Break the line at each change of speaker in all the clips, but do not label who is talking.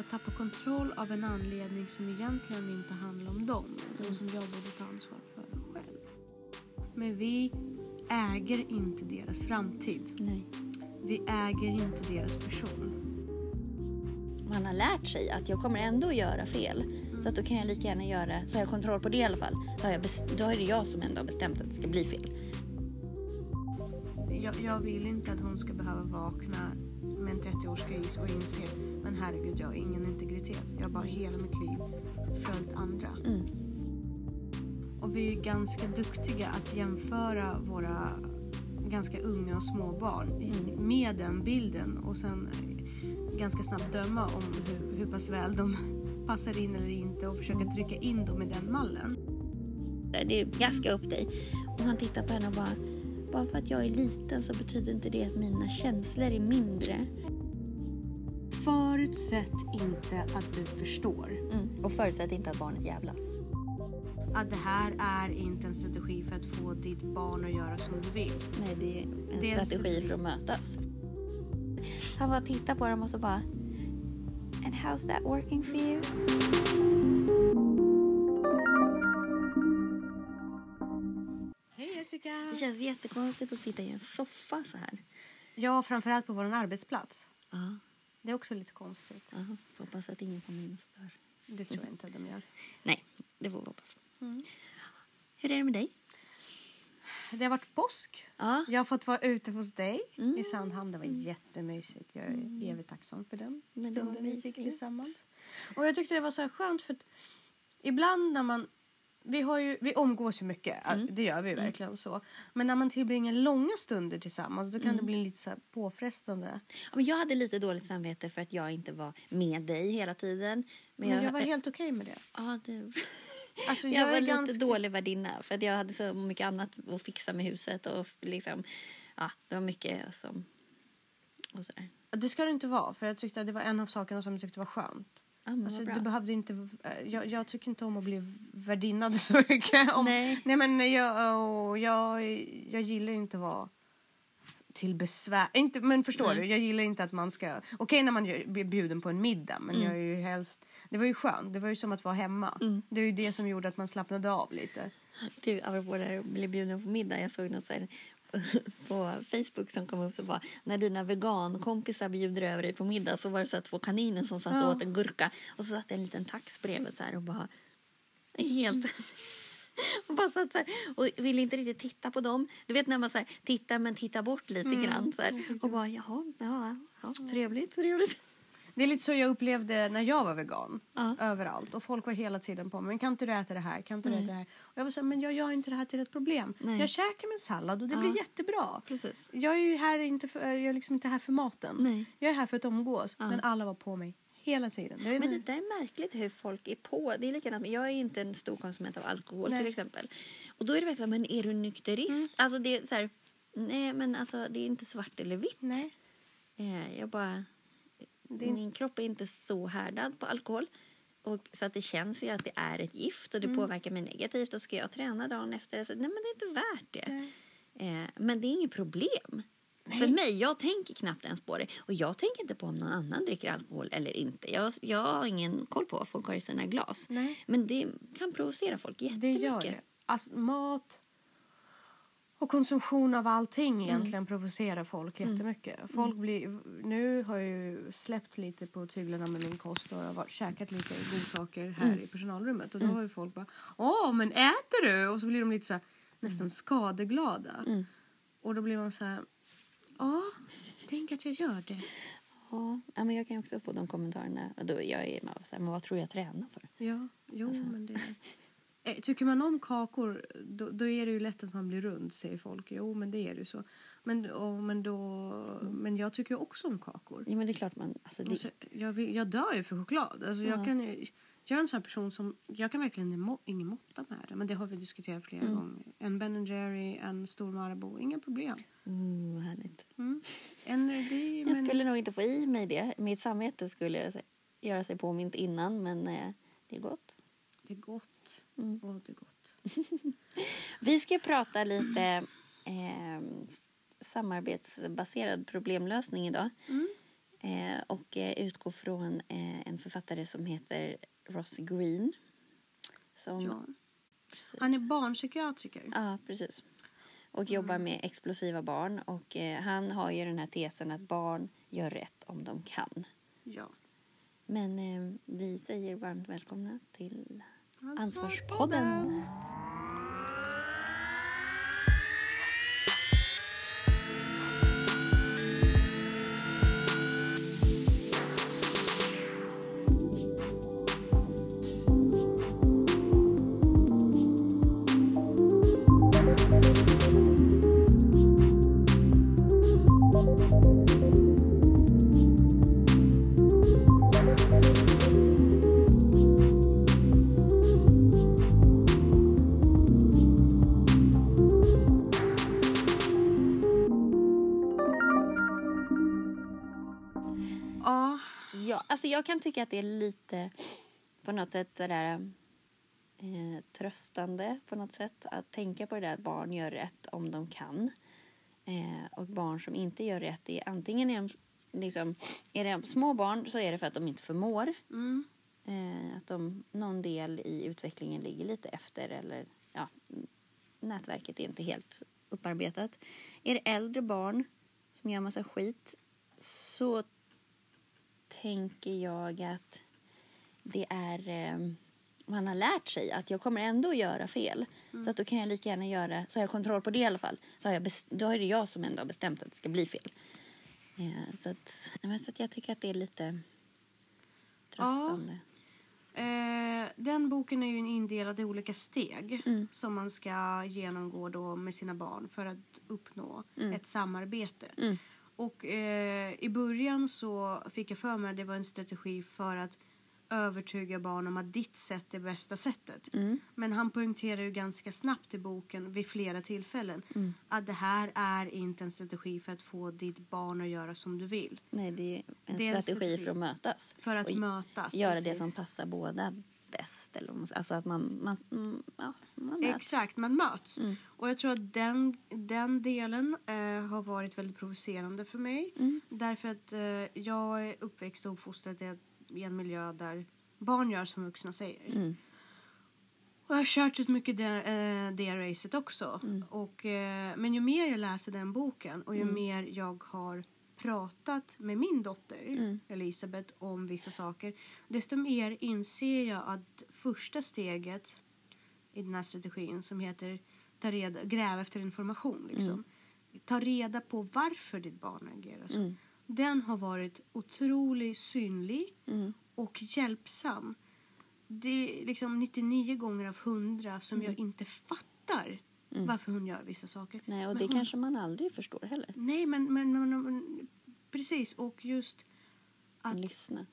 att tappa kontroll av en anledning som egentligen inte handlar om dem. De som jag borde ta ansvar för själv. Men vi äger inte deras framtid.
Nej.
Vi äger inte deras person.
Man har lärt sig att jag kommer ändå göra fel. Så att då kan jag lika gärna göra, så har jag kontroll på det i alla fall. Så har jag bes- då är det jag som ändå har bestämt att det ska bli fel.
Jag, jag vill inte att hon ska behöva vakna med en 30-årskris och inse men herregud, jag har ingen integritet. Jag har bara hela mitt liv följt andra.
Mm.
Och vi är ju ganska duktiga att jämföra våra ganska unga och små barn
Mm.
med den bilden och sen eh, ganska snabbt döma om hur, hur pass väl de passar in eller inte och försöka trycka in dem i den mallen.
Det är gaska upp dig. Och han tittar på henne och bara, bara för att jag är liten så betyder inte det att mina känslor är mindre.
Förutsätt inte att du förstår
Mm. Och förutsätt inte att barnet jävlas.
att det här är inte en strategi för att få ditt barn att göra som du vill.
Nej, det är en
Det är en
strategi för att mötas. Han bara tittar på dem och så bara... And how's that working for you?
Hej
Det
Jessica!
känns jättekonstigt att sitta i en soffa så här.
Ja, framförallt på vår arbetsplats.
Ja,
Det är också lite konstigt.
ja. Får hoppas att ingen kommer in och stör.
Det tror jag inte att de gör.
Nej, det får vi hoppas. Hur är det med dig?
Det har varit påsk.
Ja.
Jag har fått vara ute hos dig i Sandhamn. Det var jättemysigt. Jag är evigt tacksam för den
Men det var
Mm. stunden vi fick
mysigt.
tillsammans. Och jag tyckte det var så här skönt för att ibland när man... Vi, har ju, vi omgås ju mycket, ja, det gör vi ju verkligen så. Men när man tillbringar långa stunder tillsammans då kan det bli lite så här påfrestande.
Ja, men jag hade lite dåligt samvete för att jag inte var med dig hela tiden.
Men jag, var helt okej med det.
Ja, det...
Alltså,
jag,
jag är
var lite
ganska-
dålig värdinna för att jag hade så mycket annat att fixa med huset och f- liksom, ja, det var mycket som... Och sådär.
Det ska det inte vara, för jag tyckte att det var en av sakerna som jag tyckte var skönt.
Ja, men Mm, vad
Alltså,
bra.
du behövde inte, eh, jag, jag tycker inte om att bli värdinnad så mycket. Om,
Nej.
men jag, och jag, jag gillar ju inte att vara till besvär. Inte, men förstår du, jag gillar inte att man ska... Okej när man gör- blir bjuden på en middag men
Mm.
jag är ju helst... Det var ju skönt, det var ju som att vara hemma. Det är ju det som gjorde att man slappnade av lite.
Du, apropå det här att bli bjuden på middag. Jag såg något så här på Facebook som kom upp som var när dina vegankompisar bjuder över dig på middag så var det så att två kaniner som satt och åt en gurka och så satt en liten tax bredvid så här och bara helt och bara satt så här och ville inte riktigt titta på dem. Du vet när man så här tittar men tittar bort lite grann så här och bara jaha, ja, ja trevligt, trevligt.
Det är lite så jag upplevde när jag var vegan.
Ja.
Överallt. Och folk var hela tiden på mig. Men kan inte du äta det här? Kan inte du äta det här? Och jag var så här, men jag gör inte det här till ett problem.
Nej.
Jag käkar min sallad och det blir jättebra.
Precis.
Jag är ju här inte för, jag är liksom inte här för maten.
Nej.
Jag är här för att omgås. Men alla var på mig hela tiden. Det är
Men det där är märkligt hur folk är på. Det är likadant. Jag är inte en stor konsument av alkohol
Nej.
till exempel. Och då är det verkligen så här, men är du nykterist? Alltså det är så här, nej men alltså det är inte svart eller vitt.
Nej.
Eh, Jag bara,
Det är-
min kropp är inte så härdad på alkohol. Och, så att det känns ju att det är ett gift och
Mm.
det påverkar mig negativt. Och ska jag träna dagen efter? Så, nej men det är inte värt det.
Nej.
Eh, men det är inget problem. För mig, jag tänker knappt ens på det. Och jag tänker inte på om någon annan dricker alkohol eller inte. Jag, jag har ingen koll på vad folk har i sina glas.
Nej.
Men det kan provocera folk
Det
jättemycket.
gör det. Alltså, mat och konsumtion av allting egentligen provocerar folk jättemycket. Folk blir, nu har jag ju släppt lite på tyglarna med min kost och jag har varit- käkat lite godsaker här i personalrummet. Och då har ju folk bara Åh, men äter du? Och så blir de lite så här, nästan skadeglada. Och då blir man så här Ja, tänk att jag gör det.
Ja, ja, men jag kan ju också få de kommentarerna. Och då, jag är man bara så här, men vad tror jag tränar för?
Ja, jo
Alltså.
men det... Eh, Tycker man om kakor då, då är det ju lätt att man blir rund säger folk. Jo men det är det ju så. Men, och, men, då, men jag tycker ju också om kakor.
Ja, men det är klart man... Alltså, det,
Alltså, jag, vill, jag dör ju för choklad. Alltså, jag, kan, ju- jag är en sån här person som jag kan verkligen må- ingen måtta med det. Men det har vi diskuterat flera
Mm.
gånger. En Ben Jerry, en stor Marabou, inga problem.
oh, härligt.
Mm. En, det, är-
Jag
men,
skulle nog inte få i mig det. Mitt samvete skulle jag sä- göra sig påmint innan, men eh, det är gott.
Det är gott.
Mm.
Åh, det är gott.
Vi ska prata lite ehm,
Mm.
eh, s- samarbetsbaserad problemlösning idag. Eh, och eh, utgår från eh, en författare som heter Ross Green. Som,
Ja.
Mm. precis.
Han är barnpsykiatriker.
Ja, precis. Och jobbar
Mm.
med explosiva barn. Och eh, han har ju den här tesen att barn gör rätt om de kan.
Ja.
Men eh, vi säger varmt välkomna till
Ansvarspodden.
Ansvarspodden.
Ja.
Ja, alltså jag kan tycka att det är lite på något sätt sådär eh, tröstande på något sätt att tänka på det där att barn gör rätt om de kan. Eh, och barn som inte gör rätt är antingen är de, liksom, är det små barn så är det för att de inte förmår.
Mm.
Eh, att de, någon del i utvecklingen ligger lite efter eller ja, n- nätverket är inte helt upparbetat. Är det äldre barn som gör massa skit så tänker jag att det är eh, man har lärt sig att jag kommer ändå att göra fel. Så att då kan jag lika gärna göra, så har jag kontroll på det i alla fall. Så har jag bes- då är det jag som ändå har bestämt att det ska bli fel. Eh, så att, nej, men så att jag tycker att det är lite tröstande.
Eh, den boken är ju indelad i olika steg
Mm.
som man ska genomgå då med sina barn för att uppnå
Mm.
ett samarbete. Och eh, i början så fick jag för mig att det var en strategi för att övertyga barn om att ditt sätt är bästa sättet.
Mm.
Men han poängterar ju ganska snabbt i boken vid flera tillfällen
Mm.
att det här är inte en strategi för att få ditt barn att göra som du vill.
Nej, det är en,
Det är en
strategi,
strategi.
för att mötas.
För att
Och
mötas.
Göra det
precis.
som passar båda bäst. Eller, vad man ska- alltså att man, man, mm, ja, man möts.
Exakt, man möts. Och jag tror att den, den delen eh, har varit väldigt provocerande för mig. Därför att eh, jag är uppväxt och uppfostrad i ett- i en miljö där barn gör som vuxna säger. Och jag har kört ut mycket det, eh, det racet också. Och, eh, men ju mer jag läser den boken och ju mer jag har pratat med min dotter Elisabeth om vissa saker desto mer inser jag att första steget i den här strategin som heter ta reda, gräv efter information. Liksom.
Mm.
Ta reda på varför ditt barn agerar så.
Mm.
Den har varit otroligt synlig
Mm.
och hjälpsam. Det är liksom 99 gånger av 100 som jag
Mm.
inte fattar varför hon gör vissa saker.
Nej, och
Men
det
hon
kanske man aldrig förstår heller.
Nej, men, men, men, men precis. Och just att
Lyssna.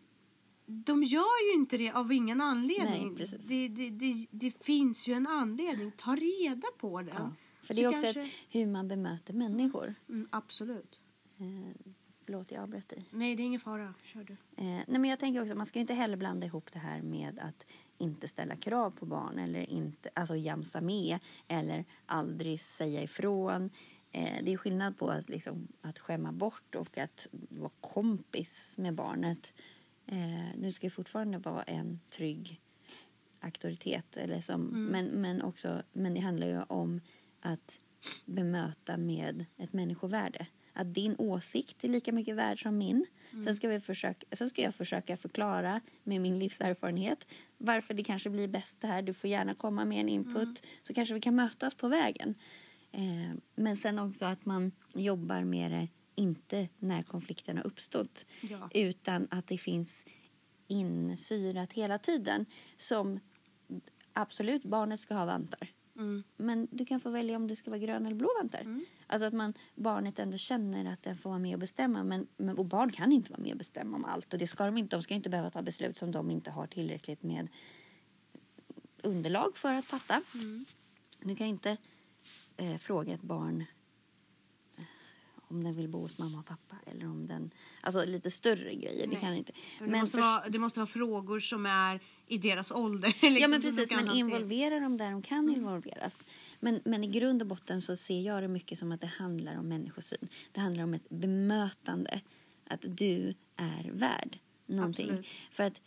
de gör ju inte det av ingen anledning.
Nej, precis.
det, det, det, det finns ju en anledning. Ta reda på den.
Ja. För
Så
det är också
kanske-
ett, hur man bemöter människor.
Mm, absolut.
Eh, förlåt, jag avbröt dig.
Nej, det är ingen fara. Kör du.
Eh, nej, men jag tänker också, man ska ju inte heller blanda ihop det här med att inte ställa krav på barn eller inte, alltså jamsa med eller aldrig säga ifrån. Eh, det är skillnad på att, liksom, att skämma bort och att vara kompis med barnet. Eh, nu ska ju fortfarande vara en trygg auktoritet. Eller som, men, men, också, men det handlar ju om att bemöta med ett människovärde. Att din åsikt är lika mycket värd som min. Sen, ska vi försöka, sen ska jag försöka förklara med min livserfarenhet varför det kanske blir bäst det här. Du får gärna komma med en input så kanske vi kan mötas på vägen. Eh, men sen också att man jobbar med det inte när konflikten har uppstått
Ja.
utan att det finns insyrat hela tiden. Som absolut, barnet ska ha vantar.
Mm.
Men du kan få välja om det ska vara grön eller blå vantar. Alltså att man, barnet ändå känner att den får vara med och bestämma. Men, men, och barn kan inte vara med och bestämma om allt. Och det ska de inte. De ska inte behöva ta beslut som de inte har tillräckligt med underlag för att fatta.
Mm.
Du kan inte eh, fråga ett barn eh, om den vill bo hos mamma och pappa eller om den... Alltså lite större grejer. Det
Nej.
kan du inte.
Det, måste
förs-
vara, det måste vara frågor som är i deras ålder. Liksom,
ja, men
som de
precis.
kan Mm.
Men
hantera.
involvera dem där de kan involveras. Men, men i grund och botten så ser jag det mycket som att det handlar om människosyn. Det handlar om ett bemötande. att du är värd någonting.
Absolut.
För att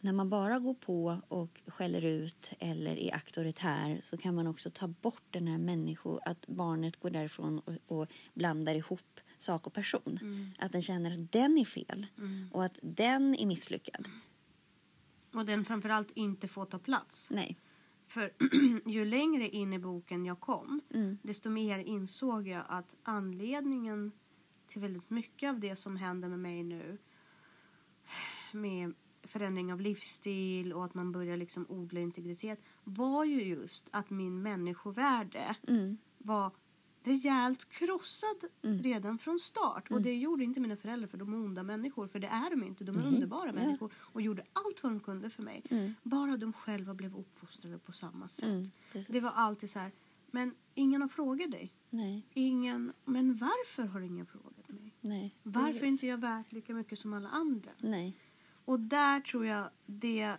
när man bara går på och skäller ut eller är auktoritär så kan man också ta bort den här människo... Att barnet går därifrån och, och blandar ihop sak och person.
Mm.
Att den känner att den är fel och att den är misslyckad.
Mm. Och den framförallt inte får ta plats.
Nej.
För ju längre in i boken jag kom,
Mm.
desto mer insåg jag att anledningen till väldigt mycket av det som händer med mig nu, med förändring av livsstil och att man börjar liksom odla integritet, var ju just att min människovärde
Mm.
var rejält krossad redan från start.
Mm.
Och det gjorde inte mina föräldrar för de är onda människor, för det är de inte. De
Mm.
är underbara människor och gjorde allt vad de kunde för mig. Bara de själva blev uppfostrade på samma sätt.
Mm, precis.
det var alltid så här, men ingen har frågat dig.
Nej.
Ingen, men varför har ingen frågat mig?
Nej.
Varför
Precis.
är inte jag värt lika mycket som alla andra?
Nej.
Och där tror jag det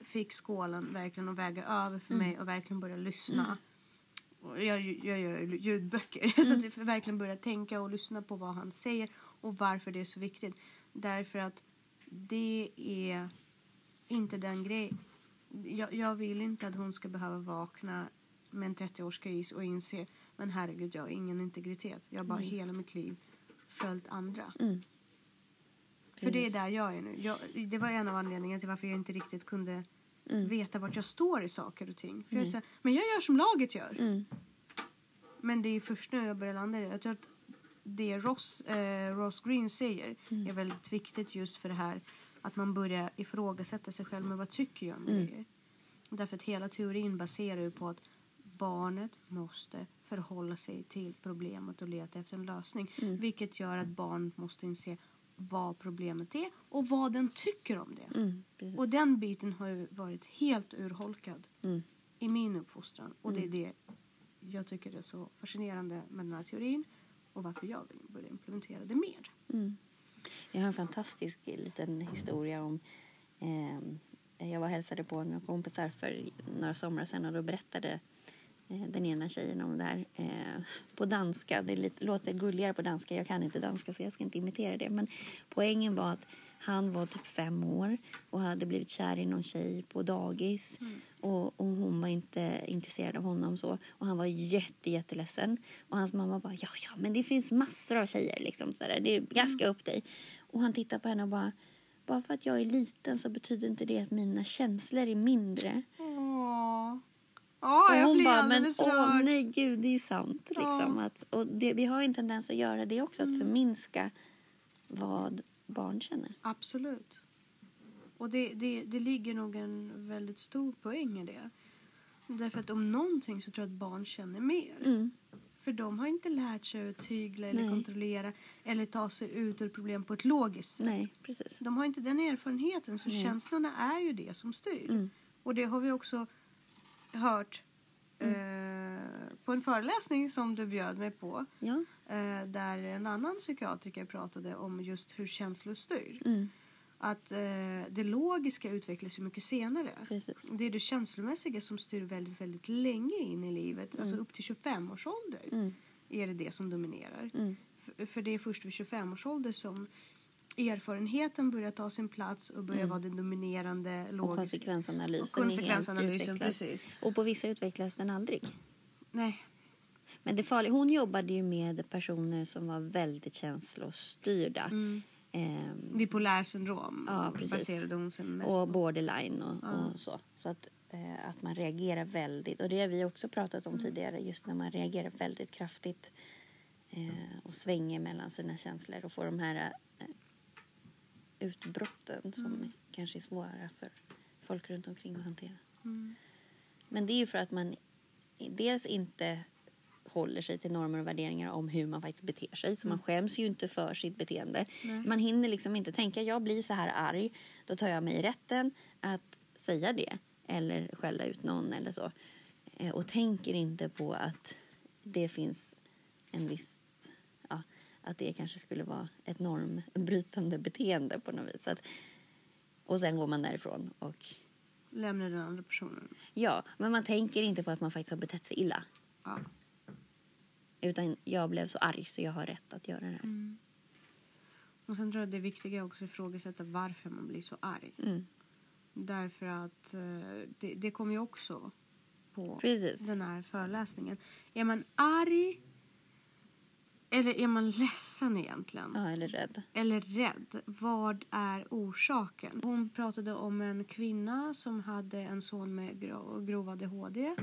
fick skålen verkligen att väga över för mig och verkligen börja lyssna. Och Jag, jag gör ju ljudböcker, så att jag verkligen börja tänka och lyssna på vad han säger och varför det är så viktigt. Därför att det är inte den grejen. Jag, jag vill inte att hon ska behöva vakna med en 30-årskris och inse men herregud, jag har ingen integritet. Jag har bara hela mitt liv följt andra. För det är
Precis.
där jag är nu. Jag, det var en av anledningarna till varför jag inte riktigt kunde
Mm.
veta vart jag står i saker och ting. För jag är så här, men jag gör som laget gör.
Mm.
Men det är först nu jag börjar landa i det. Jag tror att det Ross, eh, Ross Green säger
Mm.
är väldigt viktigt just för det här att man börjar ifrågasätta sig själv. Men vad tycker jag om
Mm.
grejer? Därför att hela teorin baserar ju på att barnet måste förhålla sig till problemet och leta efter en lösning.
Mm.
Vilket gör att barnet måste inse vad problemet är och vad den tycker om det.
Mm. Precis.
Och den biten har ju varit helt urholkad
Mm.
i min uppfostran. Och det är det jag tycker är så fascinerande med den här teorin och varför jag vill börja implementera det mer.
Jag har en fantastisk liten historia om... Eh, jag var och hälsade på några kompisar för några somrar sedan och då berättade eh, den ena tjejen om det här eh, på danska. Det är lite, låter gulligare på danska. Jag kan inte danska så jag ska inte imitera det. Men poängen var att han var typ fem år och hade blivit kär i någon tjej på dagis.
Mm.
Och, och hon var inte intresserad av honom så. Och han var jätte, jätteledsen. Och hans mamma bara, ja, ja, men det finns massor av tjejer liksom. Så där. Det är gaska
Mm.
upp dig. Och han tittar på henne och bara, bara för att jag är liten så betyder inte det att mina känslor är mindre.
Åh, Åh
Mm. och
jag
hon
blir
bara, men
alldeles
åh
rörd.
nej gud, det är ju sant. Liksom, att, och det, vi har ju en tendens att göra det också,
Mm.
att förminska vad barn känner.
Absolut. Och det, det, det ligger nog en väldigt stor poäng i det. Därför att om någonting så tror jag att barn känner mer.
Mm.
För de har inte lärt sig att tygla eller
Nej.
kontrollera eller ta sig ut ur problem på ett logiskt sätt.
Nej, precis.
De har inte den erfarenheten, så känslorna är ju det som styr.
Mm.
Och det har vi också hört eh,
Mm.
på en föreläsning som du bjöd mig på.
Ja.
Eh, där en annan psykiatriker pratade om just hur känslor styr.
Mm.
Att eh, det logiska utvecklas ju mycket senare.
Precis.
Det är det känslomässiga som styr väldigt, väldigt länge in i livet.
Mm.
Alltså upp till 25 års ålder är det det som dominerar.
Mm.
F- för det är först vid 25 års ålder som erfarenheten börjar ta sin plats och börjar vara den dominerande
Mm.
logiska.
Och konsekvensanalysen,
Och konsekvensanalysen,
är helt utvecklad.
precis.
Och på vissa utvecklas den aldrig.
Nej,
Men det farliga, hon jobbade ju med personer som var väldigt känslostyrda.
Mm.
Ehm,
bipolär syndrom
Ja, precis.
baserade hon sig mest på.
och borderline och, och så. Så att, eh, att man reagerar väldigt. Och det har vi också pratat om tidigare, just när man reagerar väldigt kraftigt eh, och svänger mellan sina känslor och får de här eh, utbrotten som kanske är svåra för folk runt omkring att hantera. Men det är ju för att man dels inte håller sig till normer och värderingar om hur man faktiskt beter sig. Så man skäms ju inte för sitt beteende. Man hinner liksom inte tänka, jag blir så här arg, då tar jag mig rätten att säga det eller skälla ut någon eller så. Eh, Och tänker inte på att det finns en viss, ja, att det kanske skulle vara ett normbrytande beteende på något vis. Att, och sen går man därifrån och
Lämnade den andra personen.
Ja, men man tänker inte på att man faktiskt har betett sig illa.
Ja.
Utan jag blev så arg så jag har rätt att göra det här.
Och sen tror jag det viktiga är också att ifrågasätta varför man blir så arg.
Mm.
Därför att eh, det, det kom ju också på
Precis.
den här föreläsningen. Är man arg eller är man ledsen egentligen?
Ja, eller rädd.
Eller rädd? Vad är orsaken? Hon pratade om en kvinna som hade en son med gro- grov ADHD.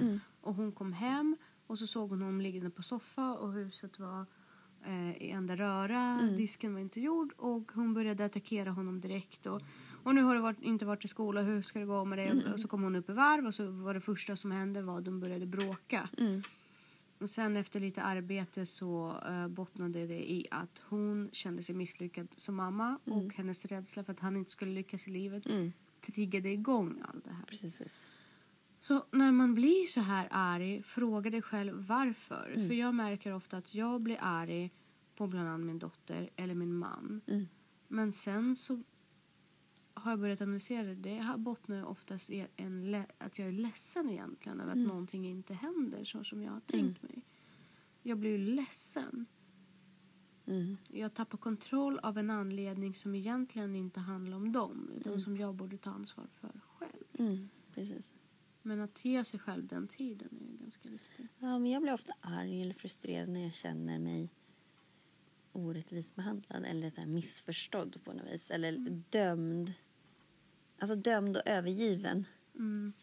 Och hon kom hem och så såg hon honom liggande på soffa och huset var eh, i enda röra. Disken var inte gjord och hon började attackera honom direkt. Och, och nu har du varit, inte varit i skola, hur ska det gå med det? Och så kom hon upp i varv och så var det första som hände var att de började bråka. Och sen efter lite arbete så eh, bottnade det i att hon kände sig misslyckad som mamma och hennes rädsla för att han inte skulle lyckas i livet triggade igång allt det här.
Precis.
Så när man blir så här arg, fråga dig själv varför. För jag märker ofta att jag blir arg på bland annat min dotter eller min man. Men sen så har jag börjat analysera det. Det här bottnar ju oftast i en le- att jag är ledsen egentligen över att någonting inte händer så som jag har tänkt mig. Jag blir ju ledsen.
Mm.
Jag tappar kontroll av en anledning som egentligen inte handlar om dem utan som jag borde ta ansvar för själv.
Mm. Precis.
Men att ge sig själv den tiden är ju ganska viktigt.
Ja, men jag blir ofta arg eller frustrerad när jag känner mig orättvist behandlad eller så här missförstådd på något vis. Eller dömd. Alltså dömd och övergiven.
Mm.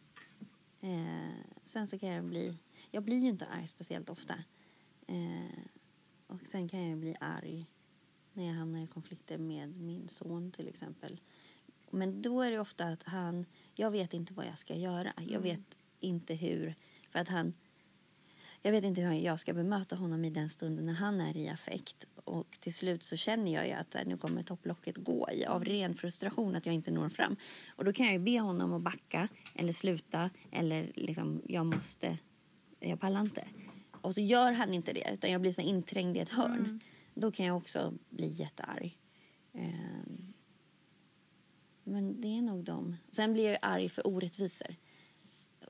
Eh, sen så kan jag bli... Jag blir ju inte arg speciellt ofta. Eh, och sen kan jag bli arg när jag hamnar i konflikter med min son till exempel. Men då är det ofta att han... Jag vet inte vad jag ska göra. Jag vet inte hur... För att han... Jag vet inte hur jag ska bemöta honom i den stunden när han är i affekt. Och till slut så känner jag ju att så här, nu kommer topplocket gå i av ren frustration att jag inte når fram. Och då kan jag ju be honom att backa eller sluta eller liksom jag måste, jag pallar inte. Och så gör han inte det utan jag blir så här inträngd i ett hörn. Då kan jag också bli jättearg. Ehm. Men det är nog dem. Sen blir jag ju arg för orättvisor.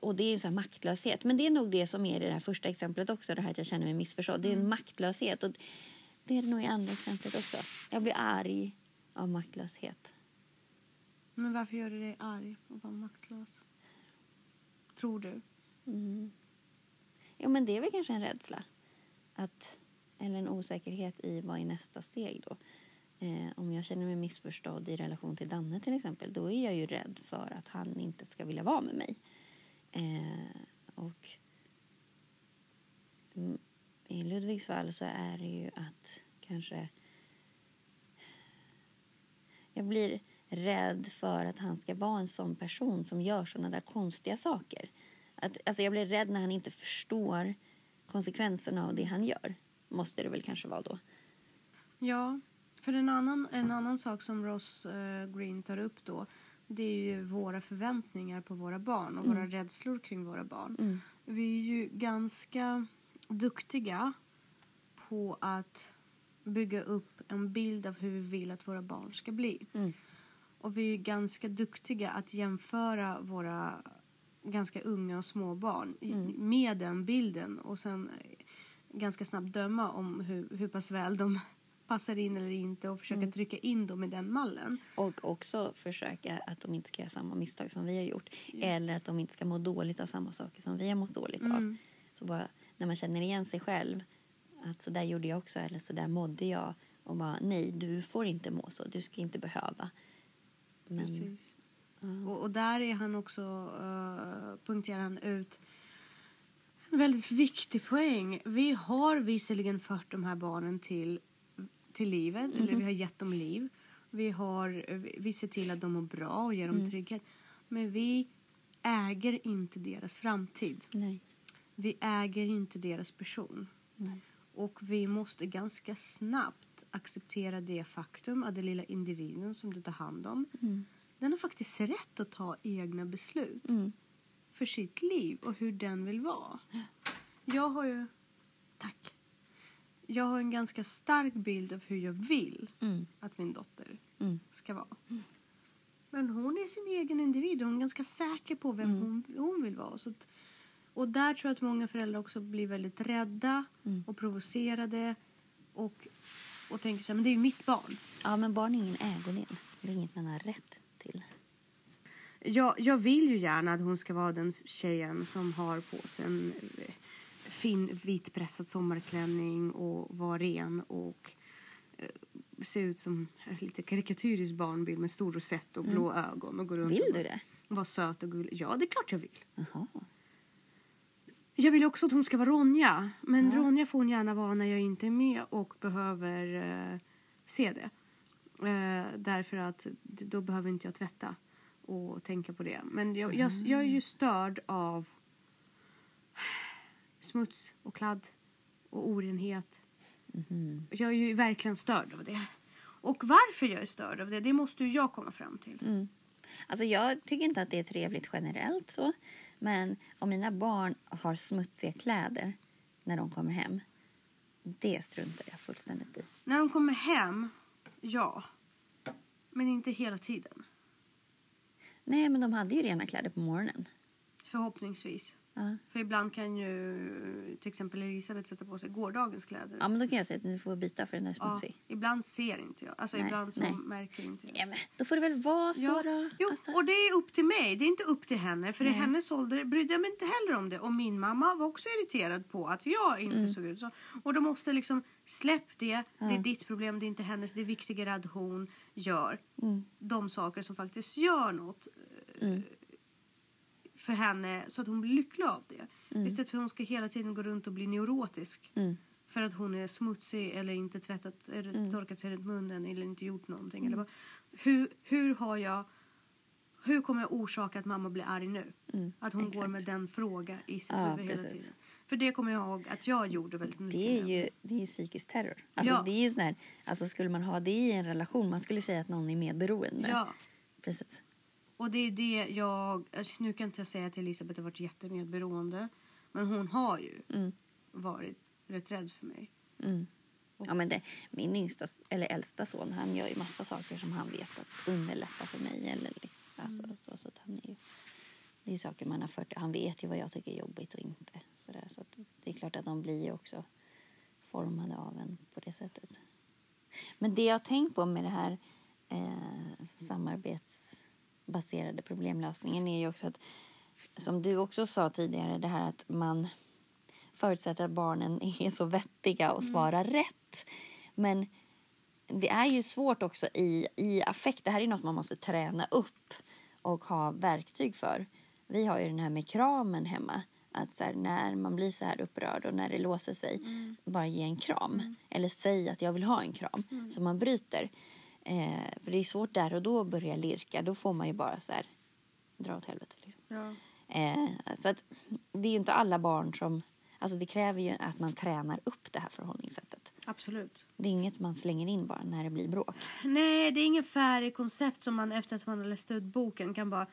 Och det är ju så här maktlöshet. Men det är nog det som är i det här första exemplet också. Det här att jag känner mig missförstådd. Det är en maktlöshet. Och det är det nog i andra exemplet också. Jag blir arg av maktlöshet.
Men varför gör du dig arg och var maktlös? Tror du?
Mm. Jo, men det är väl kanske en rädsla. Att, eller en osäkerhet i vad är nästa steg då. Eh, om jag känner mig missförstådd i relation till Danne till exempel. Då är jag ju rädd för att han inte ska vilja vara med mig. Eh, och mm, i Ludvigs fall så är det ju att kanske jag blir rädd för att han ska vara en sån person som gör såna där konstiga saker. Att, alltså jag blir rädd när han inte förstår konsekvenserna av det han gör. Måste det väl kanske vara då.
Ja, för en annan, en annan sak som Ross eh, Green tar upp då det är ju våra förväntningar på våra barn och våra rädslor kring våra barn. Vi är ju ganska duktiga på att bygga upp en bild av hur vi vill att våra barn ska bli. Och vi är ganska duktiga att jämföra våra ganska unga och små barn i- med den bilden och sen eh, ganska snabbt döma om hur, hur pass väl de passar in eller inte och försöka trycka in dem i den mallen.
Och också försöka att de inte ska göra samma misstag som vi har gjort. Eller att de inte ska må dåligt av samma saker som vi har mått dåligt av. Så bara, när man känner igen sig själv, att så där gjorde jag också eller så där mådde jag. Och bara, nej, du får inte må så. Du ska inte behöva. Men,
Precis. Och, och där är han också, eh, punkterar han ut en väldigt viktig poäng. Vi har visserligen fört de här barnen till, till livet, eller vi har gett dem liv. Vi, har, vi- vi ser till att de mår bra och ger dem trygghet. Men vi äger inte deras framtid.
Nej.
Vi äger inte deras person.
Nej.
Och vi måste ganska snabbt acceptera det faktum att den lilla individen som du tar hand om,
Mm.
den har faktiskt rätt att ta egna beslut
Mm.
för sitt liv och hur den vill vara. Jag har ju... Tack. Jag har en ganska stark bild av hur jag vill
Mm.
att min dotter
Mm.
ska vara. Men hon är sin egen individ och hon är ganska säker på vem hon, hon vill vara. Så att, och där tror jag Mm. att många föräldrar också blir väldigt rädda och provocerade och och tänker så här, men det är ju mitt barn.
Ja, men barn är ingen ägodel. Det är inget man har rätt till.
Jag, jag vill ju gärna att hon ska vara den tjejen som har på sig en eh, fin vitpressad sommarklänning och vara ren och eh, se ut som ett lite karikatyrisk barnbild med stor rosett och blå ögon och gå runt
Vill
och
du det?
vara söt och gullig. Ja, det är klart jag vill.
Jaha.
Jag vill också att hon ska vara Ronja, men Ronja får hon gärna vara när jag inte är med och behöver eh, se det. Eh, därför att d- då behöver inte jag tvätta och tänka på det. Men jag, jag, jag är ju störd av smuts och kladd och orenhet. Jag är ju verkligen störd av det. Och varför jag är störd av det, det måste ju jag komma fram till.
Alltså jag tycker inte att det är trevligt generellt så. Men om mina barn har smutsiga kläder när de kommer hem. Det struntar jag fullständigt i.
När de kommer hem, ja. Men inte hela tiden,
Nej, men de hade ju rena kläder på morgonen.
förhoppningsvis.
Ja.
För ibland kan ju till exempel Elisabeth sätta på sig gårdagens kläder.
ja, men då kan jag säga att ni får byta för den är
Ja,
smutsig.
ibland ser inte jag. Alltså
Nej,
ibland så
nej.
märker inte jag.
Ja, men då får det väl vara så
Ja,
då.
jo,
Alltså,
och det är upp till mig. Det är inte upp till henne. För i
Nej.
hennes ålder brydde jag mig inte heller om det. Och min mamma var också irriterad på att jag inte
Mm.
såg ut så. Och de måste liksom släpp det. Det är ditt problem, det är inte hennes. Det är viktigare att hon gör
Mm.
de saker som faktiskt gör något eh, för henne så att hon blir lycklig av det.
Mm.
Istället för att hon ska hela tiden gå runt och bli neurotisk. För att hon är smutsig eller inte tvättat, eller
Mm.
torkat sig runt munnen eller inte gjort någonting. Eller vad. hur, hur har jag hur kommer jag orsaka att mamma blir arg nu? att hon går
Mm. exakt.
med den fråga i sitt
Ja,
huvud hela
precis.
tiden. För det kommer jag ihåg att jag gjorde väldigt mycket.
Det är,
med.
ju, det är ju psykisk terror. Alltså,
Ja.
det är ju sån här, alltså, skulle man ha det i en relation, man skulle säga att någon är medberoende.
Ja.
Precis.
Och det är ju det jag... alltså, Nu kan inte jag säga att Elisabeth har varit jättemedberoende. Men hon har ju
Mm.
varit rätt rädd för mig.
Ja, men det, min yngsta, eller äldsta son han gör ju massa saker som han vet att underlätta för mig. Eller, alltså, så, så att han är ju, det är saker man har fört. Han vet ju vad jag tycker är jobbigt och inte. Så, där, så att det är klart att de blir ju också formade av en på det sättet. Men det jag har tänkt på med det här eh, samarbetsbaserade problemlösningen är ju också att, som du också sa tidigare, det här att man förutsätter att barnen är så vettiga och svarar rätt. Men det är ju svårt också i, i affekt. Det här är något man måste träna upp och ha verktyg för. Vi har ju den här med kramen hemma. Att så här, när man blir så här upprörd och när det låser sig, bara ge en kram. Eller säg att jag vill ha en kram, så man bryter. Eh, för det är svårt där och då att börja lirka. Då får man ju bara så här, dra åt helvete. Liksom.
Ja.
Eh, så att, det är ju inte alla barn som... Alltså det kräver ju att man tränar upp det här förhållningssättet.
Absolut.
Det är inget man slänger in bara när det blir bråk.
Nej, det är ingen färdig koncept som man efter att man har läst ut boken kan bara...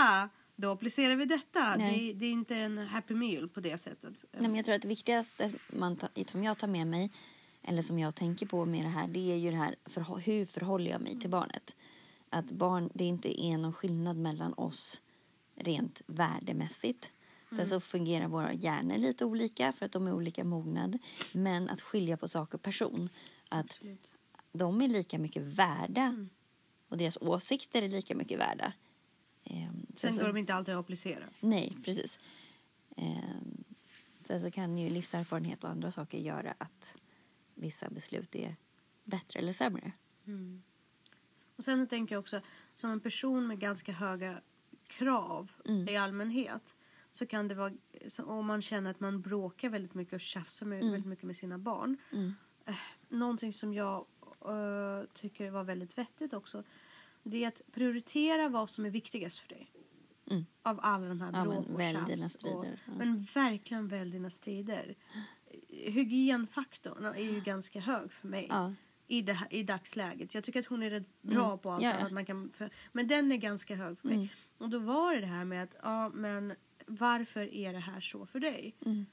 Ah, då applicerar vi detta.
Nej.
Det, det är inte en happy meal på det sättet.
Nej, men jag tror att det viktigaste man ta, som jag tar med mig eller som jag tänker på med det här, det är ju det här förhå- hur förhåller jag mig till
Mm.
barnet. Att barn, det inte är någon skillnad mellan oss rent värdemässigt. Sen
Mm.
så fungerar våra hjärnor lite olika för att de är olika mognad. Men att skilja på sak och person. Att de är lika mycket värda
Mm.
och deras åsikter är lika mycket värda. Ehm,
Sen
så-
går de inte alltid att applicera.
Nej, precis. Ehm, sen så kan ju livserfarenhet och andra saker göra att vissa beslut är bättre eller sämre.
Och sen tänker jag också, som en person med ganska höga krav
Mm.
i allmänhet så kan det vara, så om man känner att man bråkar väldigt mycket och tjafsar med,
Mm.
väldigt mycket med sina barn. Eh, Någonting som jag eh, tycker var väldigt vettigt också det är att prioritera vad som är viktigast för dig. Av alla de här
Mm. Ja,
bråk
men
och
välj dina
tjafs. Och,
strider, ja.
Men verkligen välj dina strider. Hygienfaktorn är ju ganska hög för mig
Ja. Mm.
i, det här, i dagsläget. Jag tycker att hon är rätt bra på allt
Ja, Mm. ja.
annat man kan... För, men den är ganska hög för mig. Och då var det det här med att, ja men varför är det här så för dig?
Mm.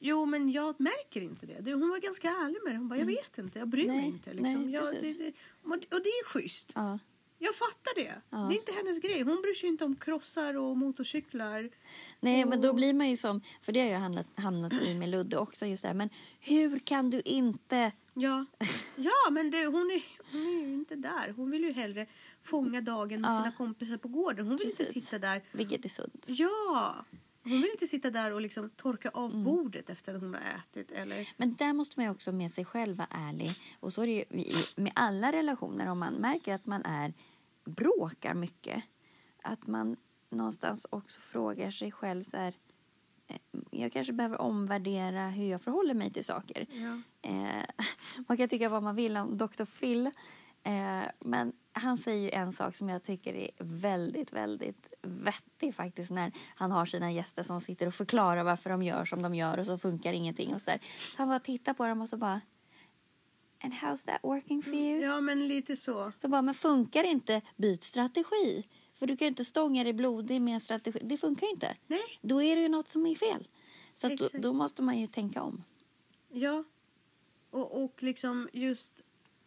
Jo men jag märker inte det. det. Hon var ganska ärlig med det. Hon bara, jag vet inte, jag bryr mig
Mm. Nej,
inte. Liksom.
nej,
jag, det,
precis.
det, och det är schysst.
Ja.
Jag fattar det. Det är inte hennes grej. Hon bryr sig inte om krossar och motorcyklar.
Nej, men då blir man ju som... För det har jag hamnat, hamnat i med Ludde också. just det här. Men hur kan du inte
Ja, ja men det, hon, är, hon är ju inte där. Hon vill ju hellre fånga dagen med
Ja.
sina kompisar på gården. Hon vill inte
Precis.
sitta där.
Vilket är sunt.
Ja, hon vill inte sitta där och liksom torka av
Mm.
bordet efter att hon har ätit. Eller?
Men där måste man ju också med sig själv vara ärlig. Och så är det ju i- med alla relationer om man märker att man är bråkar mycket. Att man någonstans också frågar sig själv så här. eh, Jag kanske behöver omvärdera hur jag förhåller mig till saker.
Ja.
Eh, man kan tycka vad man vill om Dr. Phil. Eh, men han säger ju en sak som jag tycker är väldigt, väldigt vettig faktiskt när han har sina gäster som sitter och förklarar varför de gör som de gör och så funkar ingenting och så där. Så han bara tittar på dem och så bara And how's that working for you?
ja, men lite så.
Så bara, men funkar inte, byt strategi. För du kan ju inte stånga dig blodig med en strategi. Det funkar ju inte.
Nej.
Då är det ju något som är fel. Så att då,
Exakt.
då måste man ju tänka om.
Ja. Och, och liksom just...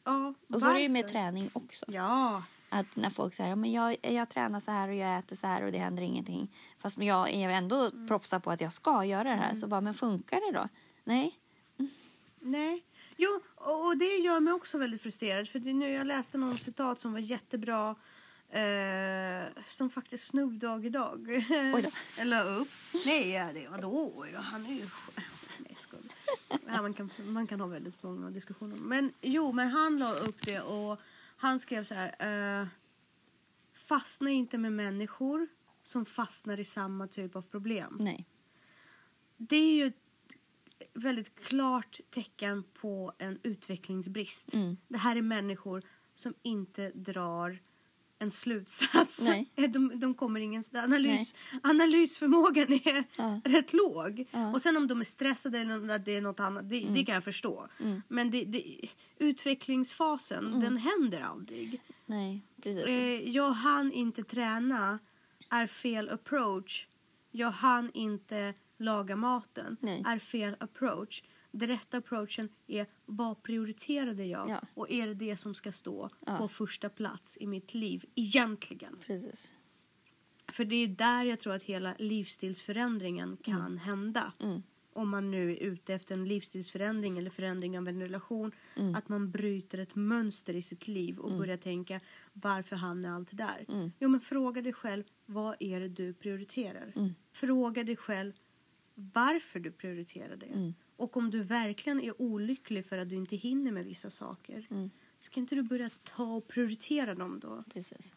Ja,
Och så är det ju med
varför?
träning också.
Ja,
Att när folk säger att jag, jag tränar så här och jag äter så här och det händer ingenting. Fast jag är ändå
Mm.
propsar på att jag ska göra det här. Så bara, men funkar det då? Nej.
Nej. Jo, och och det gör mig också väldigt frustrerad. För det, nu, jag läste någon citat som var jättebra. Eh, som faktiskt Snoop Dogg idag
Oj
la upp. Nej, ja, det, vadå? Oj då, han är ju... Nej, jag skojar. ja, man, kan, man kan ha väldigt många diskussioner. Men jo, men han la upp det och han skrev så här. Eh, fastna inte med människor som fastnar i samma typ av problem
Nej.
det är ju ett väldigt klart tecken på en utvecklingsbrist.
Mm.
Det här är människor som inte drar en slutsats.
Nej.
De, de kommer ingenstans. Analys, analysförmågan är
Ja.
rätt låg.
Ja. Mm.
Och sen om de är stressade eller att det är något annat, det, det kan jag förstå. Men det, det, utvecklingsfasen,
Mm.
den händer aldrig.
Nej, precis.
Eh, jag hann inte träna är fel approach. Jag hann inte laga maten
Nej.
är fel approach. Den rätta approachen är vad prioriterade jag
Ja.
och är det det som ska stå
Ja.
på första plats i mitt liv egentligen?
precis.
För det är där jag tror att hela livsstilsförändringen kan hända. Om man nu är ute efter en livsstilsförändring eller förändring av en relation. Att man bryter ett mönster i sitt liv och börjar tänka varför hamnar allt där? Jo men fråga dig själv vad är det du prioriterar? Fråga dig själv varför du prioriterar det. Och om du verkligen är olycklig för att du inte hinner med vissa saker. Ska inte du börja ta och prioritera dem då?
Precis.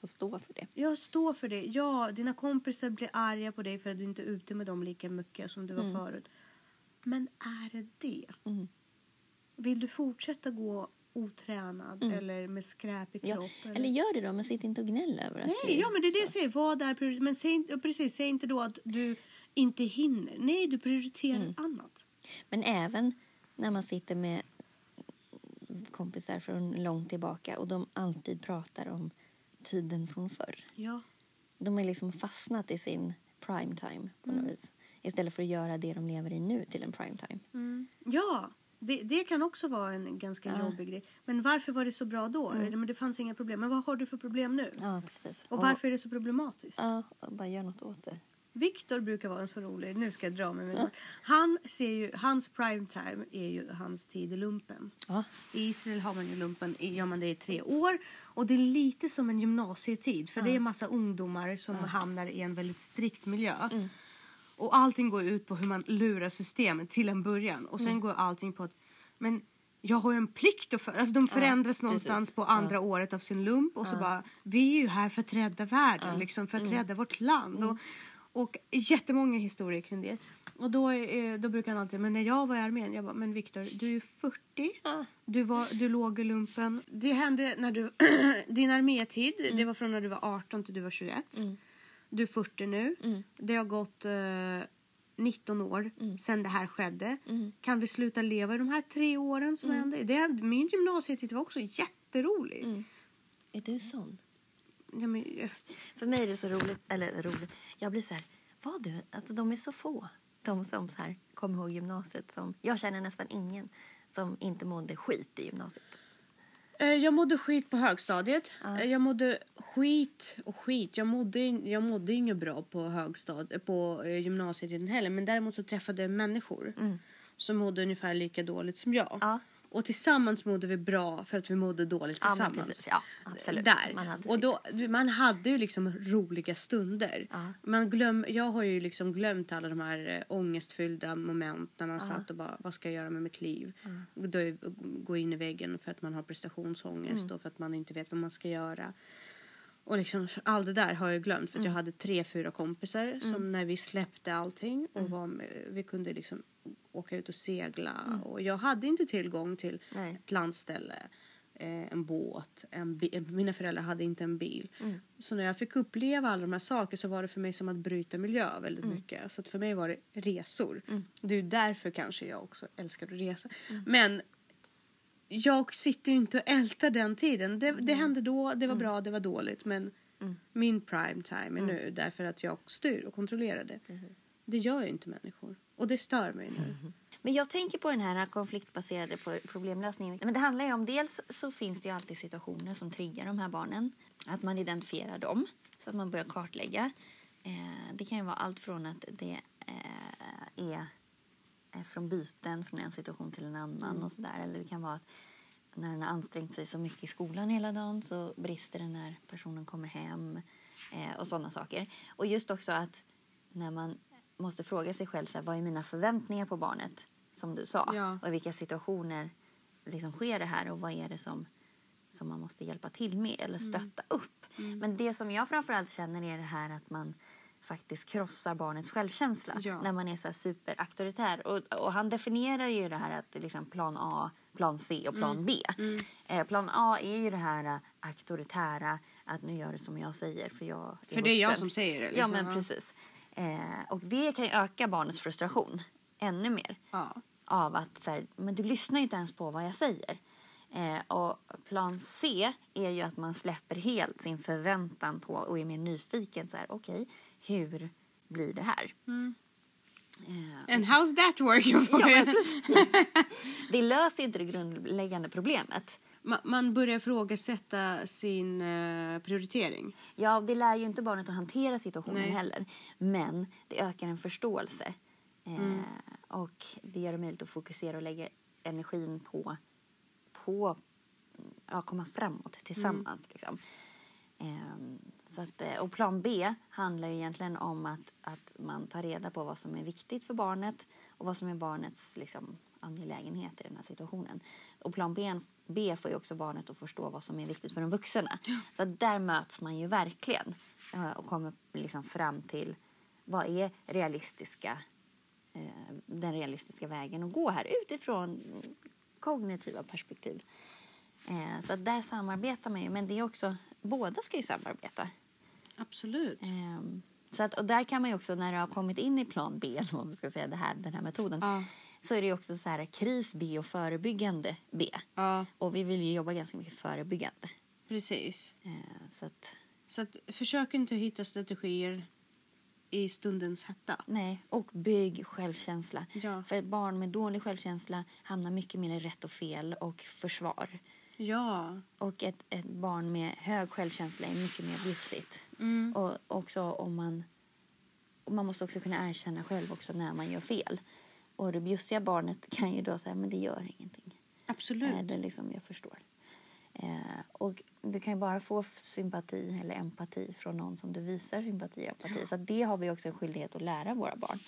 Och stå för det.
Jag står för det. Ja, dina kompisar blir arga på dig för att du inte är ute med dem lika mycket som du var
Mm.
förut. Men är det det? Vill du fortsätta gå otränad eller med skräp i
Mm. Ja.
kroppen?
Eller gör det då, men sitt inte och gnäll över att
Nej, ja, men det är det jag säger. Vad är priori- men säg, inte- ja, precis, säg inte då att du inte hinner. Nej, du prioriterar
Mm.
annat.
Men även när man sitter med kompisar från långt tillbaka och de alltid pratar om tiden från förr.
Ja,
De har liksom fastnat i sin prime time på något vis. Istället för att göra det de lever i nu till en prime time.
ja det, det kan också vara en ganska jobbig grej. Men varför var det så bra då? Men det fanns inga problem. Men vad har du för problem nu?
Mm. Ja, precis.
Och varför är det så problematiskt?
Ja, och bara gör något åt det.
Viktor brukar vara en så rolig, nu ska jag dra mig. men- Han ser ju, hans prime time är ju hans tid i lumpen.
Ja,
I Israel har man ju lumpen, i- gör man det i tre år. Och det är lite som en gymnasietid för det är massa ungdomar som hamnar i en väldigt strikt miljö. Och allting går ut på hur man lurar systemet till en början. Och sen går allting på att, men jag har ju en plikt att för... Alltså de förändras någonstans på andra året av sin lump och så bara, vi är ju här för att rädda världen, liksom, för att rädda vårt land. Och, och jättemånga historier kring det. Och då, är- då brukar han alltid, men när jag var i armén, jag bara, men Viktor, du är ju 40. Du, var, du låg i lumpen. Det hände när du, din armétid, det var från när du var 18 till du var 21. Du är 40 nu. Det har gått eh, 19 år
Mm.
sedan det här skedde. Kan vi sluta leva i de här tre åren
Mm.
som hände? Det, hände- min gymnasietid var också jätterolig.
Mm. är du sån?
Ja, men, eh,
För mig är det så roligt, eller roligt, jag blir så här, vad du, alltså de är så få. De som så här, kommer ihåg gymnasiet som, jag känner nästan ingen som inte mådde skit i gymnasiet.
Eh, Jag mådde skit på högstadiet.
Ja.
Eh, Jag mådde skit och skit. Jag mådde, in- jag mådde inget bra på, högstad, eh, på eh, gymnasiet heller. Men däremot så träffade jag människor som mådde ungefär lika dåligt som jag.
Mm. Ja.
Och tillsammans mådde vi bra för att vi mådde dåligt
Ja, men
tillsammans.
precis. Ja, absolut.
Där.
Man hade
och
sitt.
då, man hade ju liksom roliga stunder.
Ja.
Man glöm, jag har ju liksom glömt alla de här eh, ångestfyllda moment när man satt och bara, vad ska jag göra med mitt liv? Och Då är- går in i väggen för att man har prestationsångest och för att man inte vet vad man ska göra. Och liksom, allt det där har jag glömt för att jag hade tre, fyra kompisar som när vi släppte allting och var med, vi kunde liksom åka ut och segla och jag hade inte tillgång till
Nej.
ett landställe, eh, en båt, en bi- eh, mina föräldrar hade inte en bil. Så när jag fick uppleva alla de här sakerna så var det för mig som att bryta miljö väldigt mycket. Så att för mig var det resor. Det är ju därför kanske jag också älskar att resa. Men jag sitter ju inte och ältar den tiden. Det, det hände då, det var bra, det var dåligt. Men min prime time är nu därför att jag styr och kontrollerar det.
Precis.
Det gör ju inte människor. Och det stör mig nu.
Men jag tänker på den här konfliktbaserade po- problemlösningen. Men det handlar ju om dels så finns det ju alltid situationer som triggar de här barnen. Att man identifierar dem så att man börjar kartlägga. Eh, det kan ju vara allt från att det eh, är eh, från byten från en situation till en annan och sådär. Eller det kan vara att när den har ansträngt sig så mycket i skolan hela dagen så brister den när personen kommer hem eh, och sådana saker. Och just också att när man måste fråga sig själv så här, vad är mina förväntningar på barnet som du sa
Ja.
och i vilka situationer liksom sker det här och vad är det som, som man måste hjälpa till med eller stötta upp. Men det som jag framförallt känner är det här att man faktiskt krossar barnets självkänsla
Ja.
när man är så här superauktoritär. Och, och han definierar ju det här att liksom plan A, plan C
Mm.
och plan B. Eh, plan A är ju det här eh, auktoritära att nu gör du som jag säger för jag är
För det är jag
vuxen.
som säger det,
Ja
liksom.
men
Ja.
precis. Eh, och det kan ju öka barnets frustration ännu mer
Ja.
av att så här, men du lyssnar ju inte ens på vad jag säger. Eh, och plan C är ju att man släpper helt sin förväntan på och är mer nyfiken. så här, Okej, hur blir det här? Eh,
And how's that working for
ja, men
you?
precis. Det löser ju inte det grundläggande problemet.
Ma- Man börjar ifrågasätta sin eh, prioritering.
Ja, det lär ju inte barnet att hantera situationen
Nej.
heller. Men det ökar en förståelse. Eh, Och det gör det möjligt att fokusera och lägga energin på på ja, komma framåt tillsammans. Liksom. Ehm, så att, eh, och plan B handlar ju egentligen om att, att man tar reda på vad som är viktigt för barnet och vad som är barnets liksom, angelägenhet i den här situationen. Och plan B, B får ju också barnet att förstå vad som är viktigt för de vuxna. Så att där möts man ju verkligen eh, och kommer liksom fram till vad är realistiska eh, den realistiska vägen att gå här utifrån kognitiva perspektiv. Eh, Så att där samarbetar man ju, men det är också, båda ska ju samarbeta.
Absolut.
Ehm, Så att, och där kan man ju också, när du har kommit in i plan B, eller vad man ska säga, det här, den här metoden,
Ja.
så är det ju också så här kris B och förebyggande B.
Ja,
Och vi vill ju jobba ganska mycket förebyggande.
precis.
Eh, Så att,
Så att, försök inte hitta strategier i stundens hetta.
nej, och bygg självkänsla.
Ja.
För barn med dålig självkänsla hamnar mycket mer i rätt och fel och försvar.
Ja,
Och ett, ett barn med hög självkänsla är mycket mer bjussigt. Och också om man... Och man måste också kunna erkänna själv också när man gör fel. Och det bjussiga barnet kan ju då säga, men det gör ingenting.
absolut.
Eller liksom, jag förstår. Eh, och du kan ju bara få sympati eller empati från någon som du visar sympati och empati. Så att det har vi också en skyldighet att lära våra barn.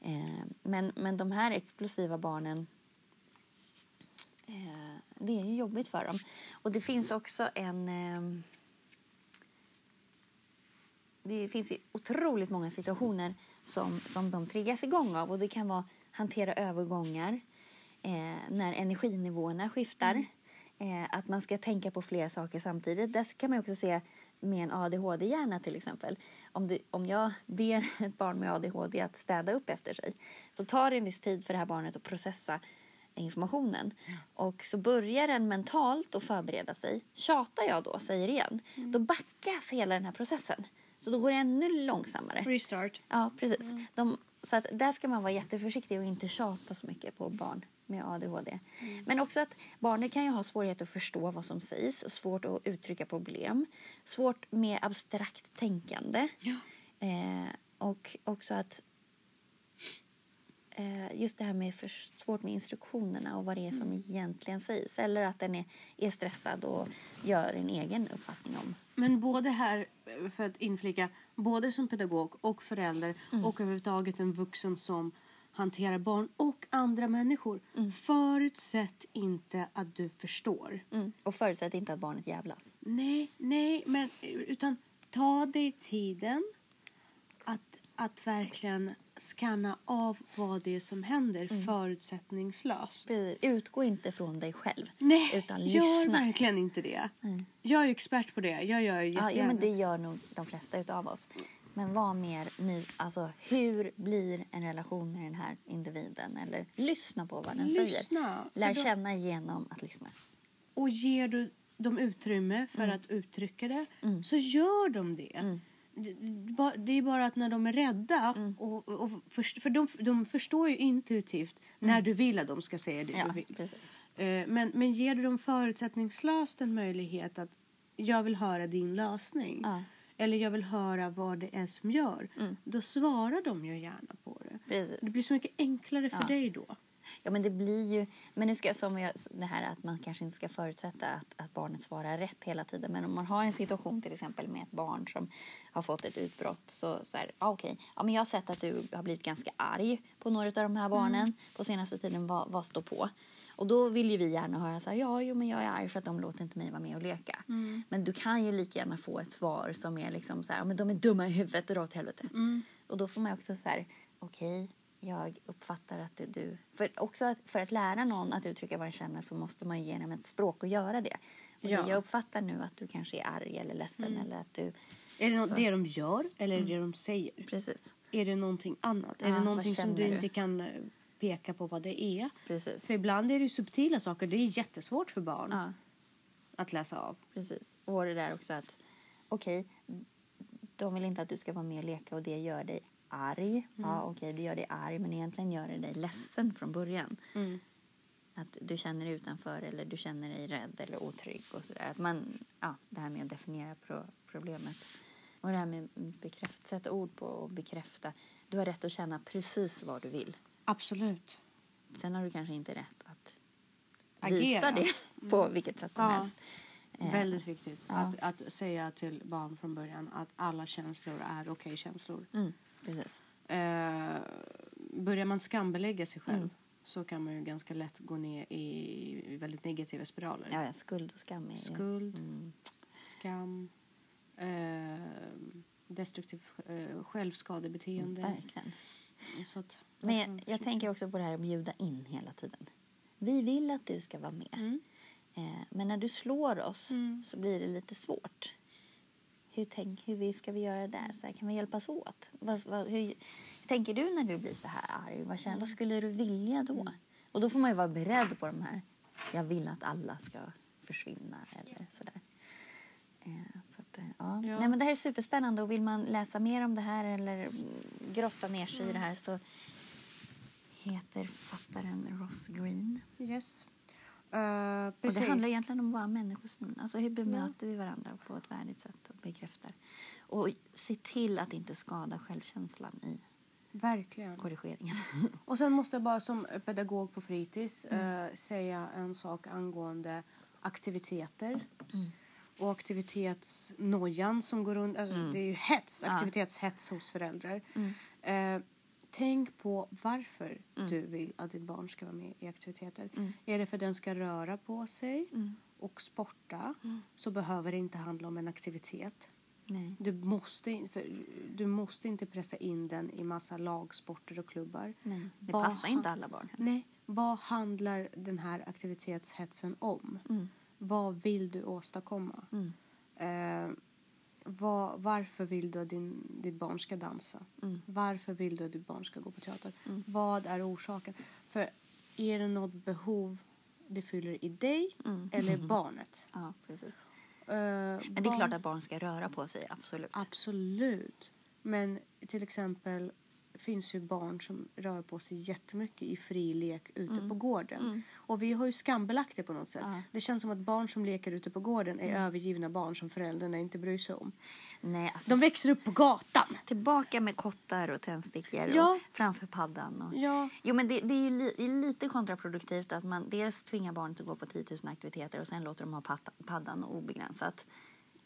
Eh, men, men de här explosiva barnen, eh, det är ju jobbigt för dem. Och det finns också en... ehm, det finns ju otroligt många situationer som, som de triggas igång av. Och Det kan vara hantera övergångar, eh, när energinivåerna skiftar. Eh, att man ska tänka på flera saker samtidigt. Det kan man ju också se med en ADHD-hjärna till exempel. Om, du, om jag ber ett barn med ADHD att städa upp efter sig så tar det en viss tid för det här barnet att processa informationen. Och så börjar den mentalt att förbereda sig. Tjatar jag då, säger igen, då backas hela den här processen. Så då går det ännu långsammare.
Eh, Restart.
Ja, precis. De, så att där ska man vara jätteförsiktig och inte tjata så mycket på barn med ADHD. Men också att barnen kan ju ha svårighet att förstå vad som sägs, och svårt att uttrycka problem, svårt med abstrakt tänkande.
Ja.
Eh, och också att eh, just det här med för svårt med instruktionerna och vad det
Mm.
är som egentligen sägs. Eller att den är, är stressad och gör en egen uppfattning om.
Men både här, för att inflika, både som pedagog och förälder
Mm.
och överhuvudtaget en vuxen som hanterar barn och andra människor.
Mm.
Förutsätt inte att du förstår.
Mm. Och förutsätt inte att barnet jävlas.
Nej, nej, men utan ta dig tiden att, att verkligen skanna av vad det är som händer
Mm.
förutsättningslöst.
Precis. Utgå inte från dig själv.
Nej,
utan
gör
lyssna.
verkligen inte det. Jag är ju expert på det. Jag gör ju
Ja,
jättegärna.
ja, men det gör nog de flesta utav oss. Men var mer ny. Alltså, hur blir en relation med den här individen? Eller lyssna på vad den
Lyssna,
säger.
för
Lär
då-
känna genom att lyssna.
Och ger du dem utrymme för
Mm.
att uttrycka det så gör de det. Det- det- ba- Det är bara att när de är rädda,
Mm.
och, och först, för de, de förstår ju intuitivt när du vill att de ska säga det
Mm.
du
Ja,
vill.
precis.
Eh, Men, men ger du dem förutsättningslöst en möjlighet att jag vill höra din lösning
Ja. Mm.
eller jag vill höra vad det är som gör, då svarar de ju gärna på det.
Precis.
Det blir så mycket enklare för dig då.
Ja, men det blir ju... Men nu ska jag, som jag, det här att man kanske inte ska förutsätta att, att barnet svarar rätt hela tiden. Men om man har en situation till exempel med ett barn som har fått ett utbrott så, så här, ah, okej, ja, men jag har sett att du har blivit ganska arg på några av de här barnen på senaste tiden. Vad, vad står på? Och då vill ju vi gärna höra så här, ja, jo, men jag är arg för att de låter inte mig vara med och leka. Men du kan ju lika gärna få ett svar som är liksom så här, "Ja, men de är dumma i huvudet och dra åt helvete. Och då får man ju också så här, okej, jag uppfattar att det- du... För, också att, för att lära någon att uttrycka vad den känner så måste man ju ge dem ett språk och göra det. Och
Ja. Mm.
det jag uppfattar nu att du kanske är arg eller ledsen eller att du...
Är det något, det de gör eller
Mm.
är det det de säger?
Precis.
Är det någonting annat?
Ja,
är det
vad
någonting som du,
känner du?
inte kan eh, peka på vad det är?
Precis.
För ibland är det ju subtila saker. Det är jättesvårt för barn
Ja,
att läsa av.
precis. Och det där också att, okej, de vill inte att du ska vara med och leka och det gör dig arg.
Mm.
Ja, okej, det gör dig arg men egentligen gör det dig ledsen från början.
Mm.
Att du känner dig utanför eller du känner dig rädd eller otrygg och sådär. Att man, ja, det här med att definiera pro problemet. Och det här med bekräft, sätta ord på och bekräfta. Du har rätt att känna precis vad du vill.
Absolut.
Sen har du kanske inte rätt att
Agera. Mm.
visa det på vilket sätt som
Ja.
helst. Eh,
Väldigt viktigt
ja.
att, att säga till barn från början att alla känslor är okej känslor.
Mm, precis.
Eh, börjar man skambelägga sig
Mm.
själv så kan man ju ganska lätt gå ner i väldigt negativa spiraler.
Ja, ja, skuld och skam är ju...
Skuld,
Mm,
skam, eh, destruktiv eh, självskadebeteende.
verkligen.
Så att,
Men jag, jag tänker också på det här att bjuda in hela tiden. Vi vill att du ska vara med.
Mm.
Eh, men när du slår oss så blir det lite svårt. Hur, tänk, hur vi- ska vi göra där? Så här, kan vi hjälpas åt? Vad, vad, hur, hur tänker du när du blir så här arg? Vad, känner, vad skulle du vilja då? Och då får man ju vara beredd på de här. Jag vill att alla ska försvinna eller sådär. Eh, Så att, eh, ja.
Ja.
Nej, men det här är superspännande och vill man läsa mer om det här eller mm, grotta ner sig i det här så heter författaren Ross Green.
Yes. Eh,
Och
precis.
det handlar egentligen om vår människosyn. Alltså hur bemöter vi varandra på ett värdigt sätt och bekräftar. Och se till att inte skada självkänslan i
Verkligen.
korrigeringen.
Och sen måste jag bara som pedagog på fritids
Mm.
eh, säga en sak angående aktiviteter.
Mm.
Och aktivitetsnojan som går runt. Alltså
Mm.
Det är ju hets, aktivitetshets hos föräldrar. Eh, tänk på varför
Mm.
du vill att ditt barn ska vara med i aktiviteter. Är det för att den ska röra på sig och sporta
Mm.
så behöver det inte handla om en aktivitet.
Nej.
Du måste, in- för, du måste inte pressa in den i massa lagsporter och klubbar.
Nej. Det
Vad
passar inte
han-
alla barn.
Nej, vad handlar den här aktivitetshetsen om? Vad vill du åstadkomma? Eh, vad, varför vill du att din, ditt barn ska dansa? Varför vill du att ditt barn ska gå på teater?
Mm.
Vad är orsaken? För är det något behov det fyller i dig eller barnet?
Ja, precis.
Eh,
Men Mm. det är klart att barn ska röra på sig, absolut.
Absolut. Men till exempel finns ju barn som rör på sig jättemycket i fri lek ute på gården. Och vi har ju skambelagt det på något sätt.
Ja.
Det känns som att barn som leker ute på gården är övergivna barn som föräldrarna inte bryr sig om.
Nej, alltså,
De växer upp på gatan.
Tillbaka med kottar och tändstickor
Ja.
och framför paddan. Och...
Ja,
Jo, men det, det är ju li, det är lite kontraproduktivt att man dels tvingar barnet att gå på 10 000 aktiviteter och sen låter dem ha patta, paddan obegränsat.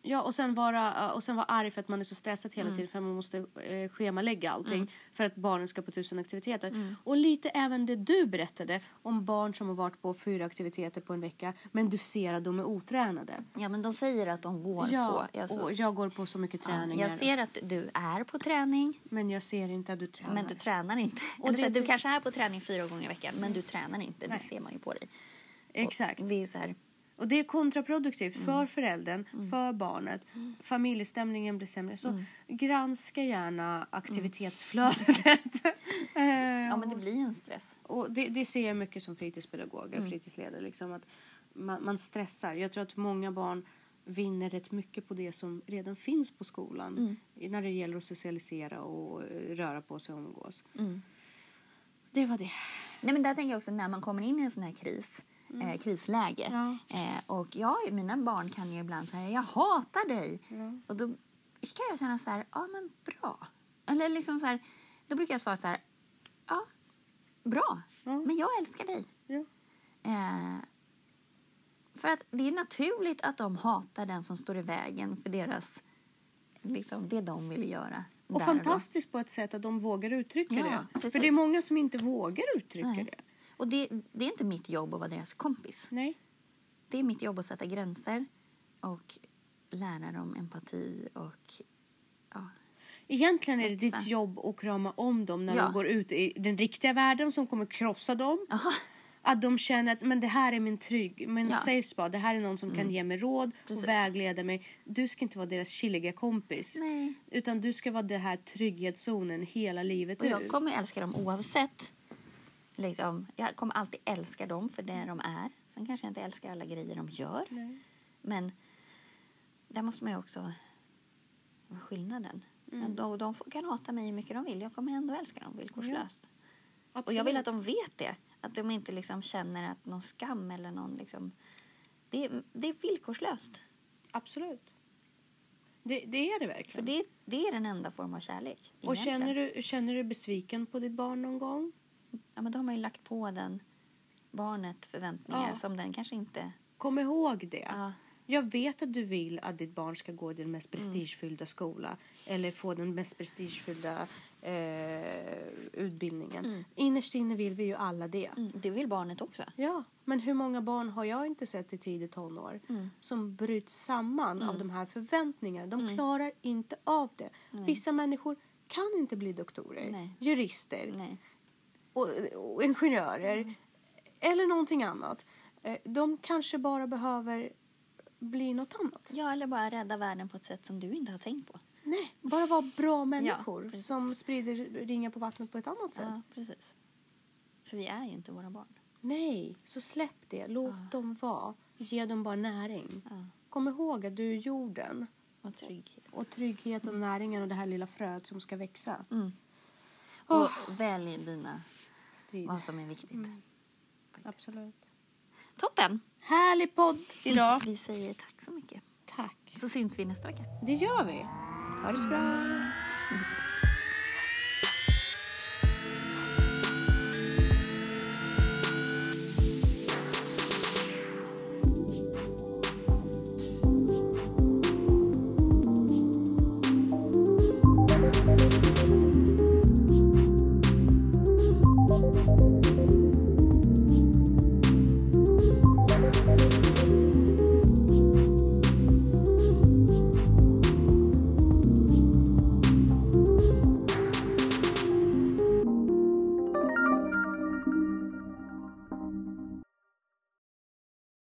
ja och, sen vara, eh, och sen vara arg för att man är så stressad
Mm.
hela tiden för att man måste eh, schemalägga allting för att barnen ska på tusen aktiviteter.
Mm.
Och lite även det du berättade om barn som har varit på fyra aktiviteter på en vecka men du ser att de är otränade.
Ja, men de säger att de går
Ja,
på. Alltså,
och jag går på så mycket
ja,
träningar.
jag ser att du är på träning,
Men jag ser inte att du tränar.
men du tränar inte.
Och
Eller
det
så här, du
ty-
kanske är på träning fyra gånger i veckan, men du tränar inte.
Nej.
Det ser man ju på dig.
Exakt.
Och det är ju så här,
Och det är kontraproduktivt
Mm.
för föräldern, för barnet. Familjestämningen blir sämre. Så
Mm.
granska gärna aktivitetsflödet. Eh,
ja, men det blir ju en stress.
och det, det ser jag mycket som fritidspedagog och
Mm.
fritidsledare. Liksom att man, man stressar. Jag tror att många barn vinner rätt mycket på det som redan finns på skolan
Mm.
i- när det gäller att socialisera och eh, röra på sig och umgås.
Mm.
Det var det.
Nej, men där tänker jag också när man kommer in i en sån här kris, eh, krisläge.
Mm. Ja.
Eh, och jag, mina barn kan ju ibland säga jag hatar dig. Och då kan jag känna så här, ja men bra. Eller liksom så här, då brukar jag svara så här, ja, bra.
Ja.
Men jag älskar dig.
Ja.
Eh, för att det är naturligt att de hatar den som står i vägen för deras, liksom det de vill göra. där
Och
då.
fantastiskt på ett sätt att de vågar uttrycka
Ja,
det. För
precis.
det är många som inte vågar uttrycka
Nej.
det.
Och det, det är inte mitt jobb att vara deras kompis.
Nej.
Det är mitt jobb att sätta gränser och lära dem empati och... Ja.
Egentligen är det
Växa.
ditt jobb att krama om dem när
Ja.
de går ut i den riktiga världen som kommer krossa dem.
Aha.
Att de känner att men det här är min trygg, min
Ja. Mm.
safe spot. Det här är någon som kan ge mig råd
Precis.
och vägleda mig. Du ska inte vara deras chilliga kompis.
Nej.
Utan du ska vara den här trygghetszonen hela livet
Och
ut.
jag kommer älska dem oavsett. Liksom, jag kommer alltid älska dem för det de är. Sen kanske jag inte älskar alla grejer de gör.
Nej.
Men där måste man ju också... Vad är skillnaden?
Mm.
Men de, de får- kan hata mig hur mycket de vill. Jag kommer ändå älska dem villkorslöst. Och jag vill att de vet det. Att de inte liksom känner att någon skam eller någon liksom... Det, är- det är villkorslöst.
Absolut. Det, det är det
För
verkligen.
det, det är den enda form av kärlek.
och
egentligen.
känner du, känner du besviken på ditt barn någon gång?
Ja, men då har man ju lagt på den barnet förväntningar
Ja.
som den kanske inte...
Kom ihåg det.
Ja. Mm.
Jag vet att du vill att ditt barn ska gå i den mest prestigefyllda skola eller få den mest prestigefyllda eh, utbildningen. Innerst inne vill vi ju alla det.
Mm. Det vill barnet också.
Ja, men hur många barn har jag inte sett i tidig tonår
Mm.
som bryts samman av de här förväntningarna? De
Mm.
klarar inte av det. Vissa människor kan inte bli doktorer,
Nej.
jurister,
Nej.
och, och ingenjörer
Mm.
eller någonting annat. Eh, De kanske bara behöver bli något annat.
Ja, eller bara rädda världen på ett sätt som du inte har tänkt på.
Nej, bara vara bra människor
precis.
som sprider ringar på vattnet på ett annat sätt.
Ja, precis. För vi är ju inte våra barn.
Nej, så släpp det. Låt dem vara. Ge dem bara näring.
Ja.
Kom ihåg att du är jorden
Och trygghet.
och trygghet och näringen och det här lilla fröet som ska växa.
Och
Åh.
välj dina,
Strid.
vad som är viktigt.
Absolut.
Mm. Toppen!
Härlig podd idag.
Vi säger tack så mycket.
Tack.
Så syns vi nästa vecka.
Det gör vi. Ha det så bra.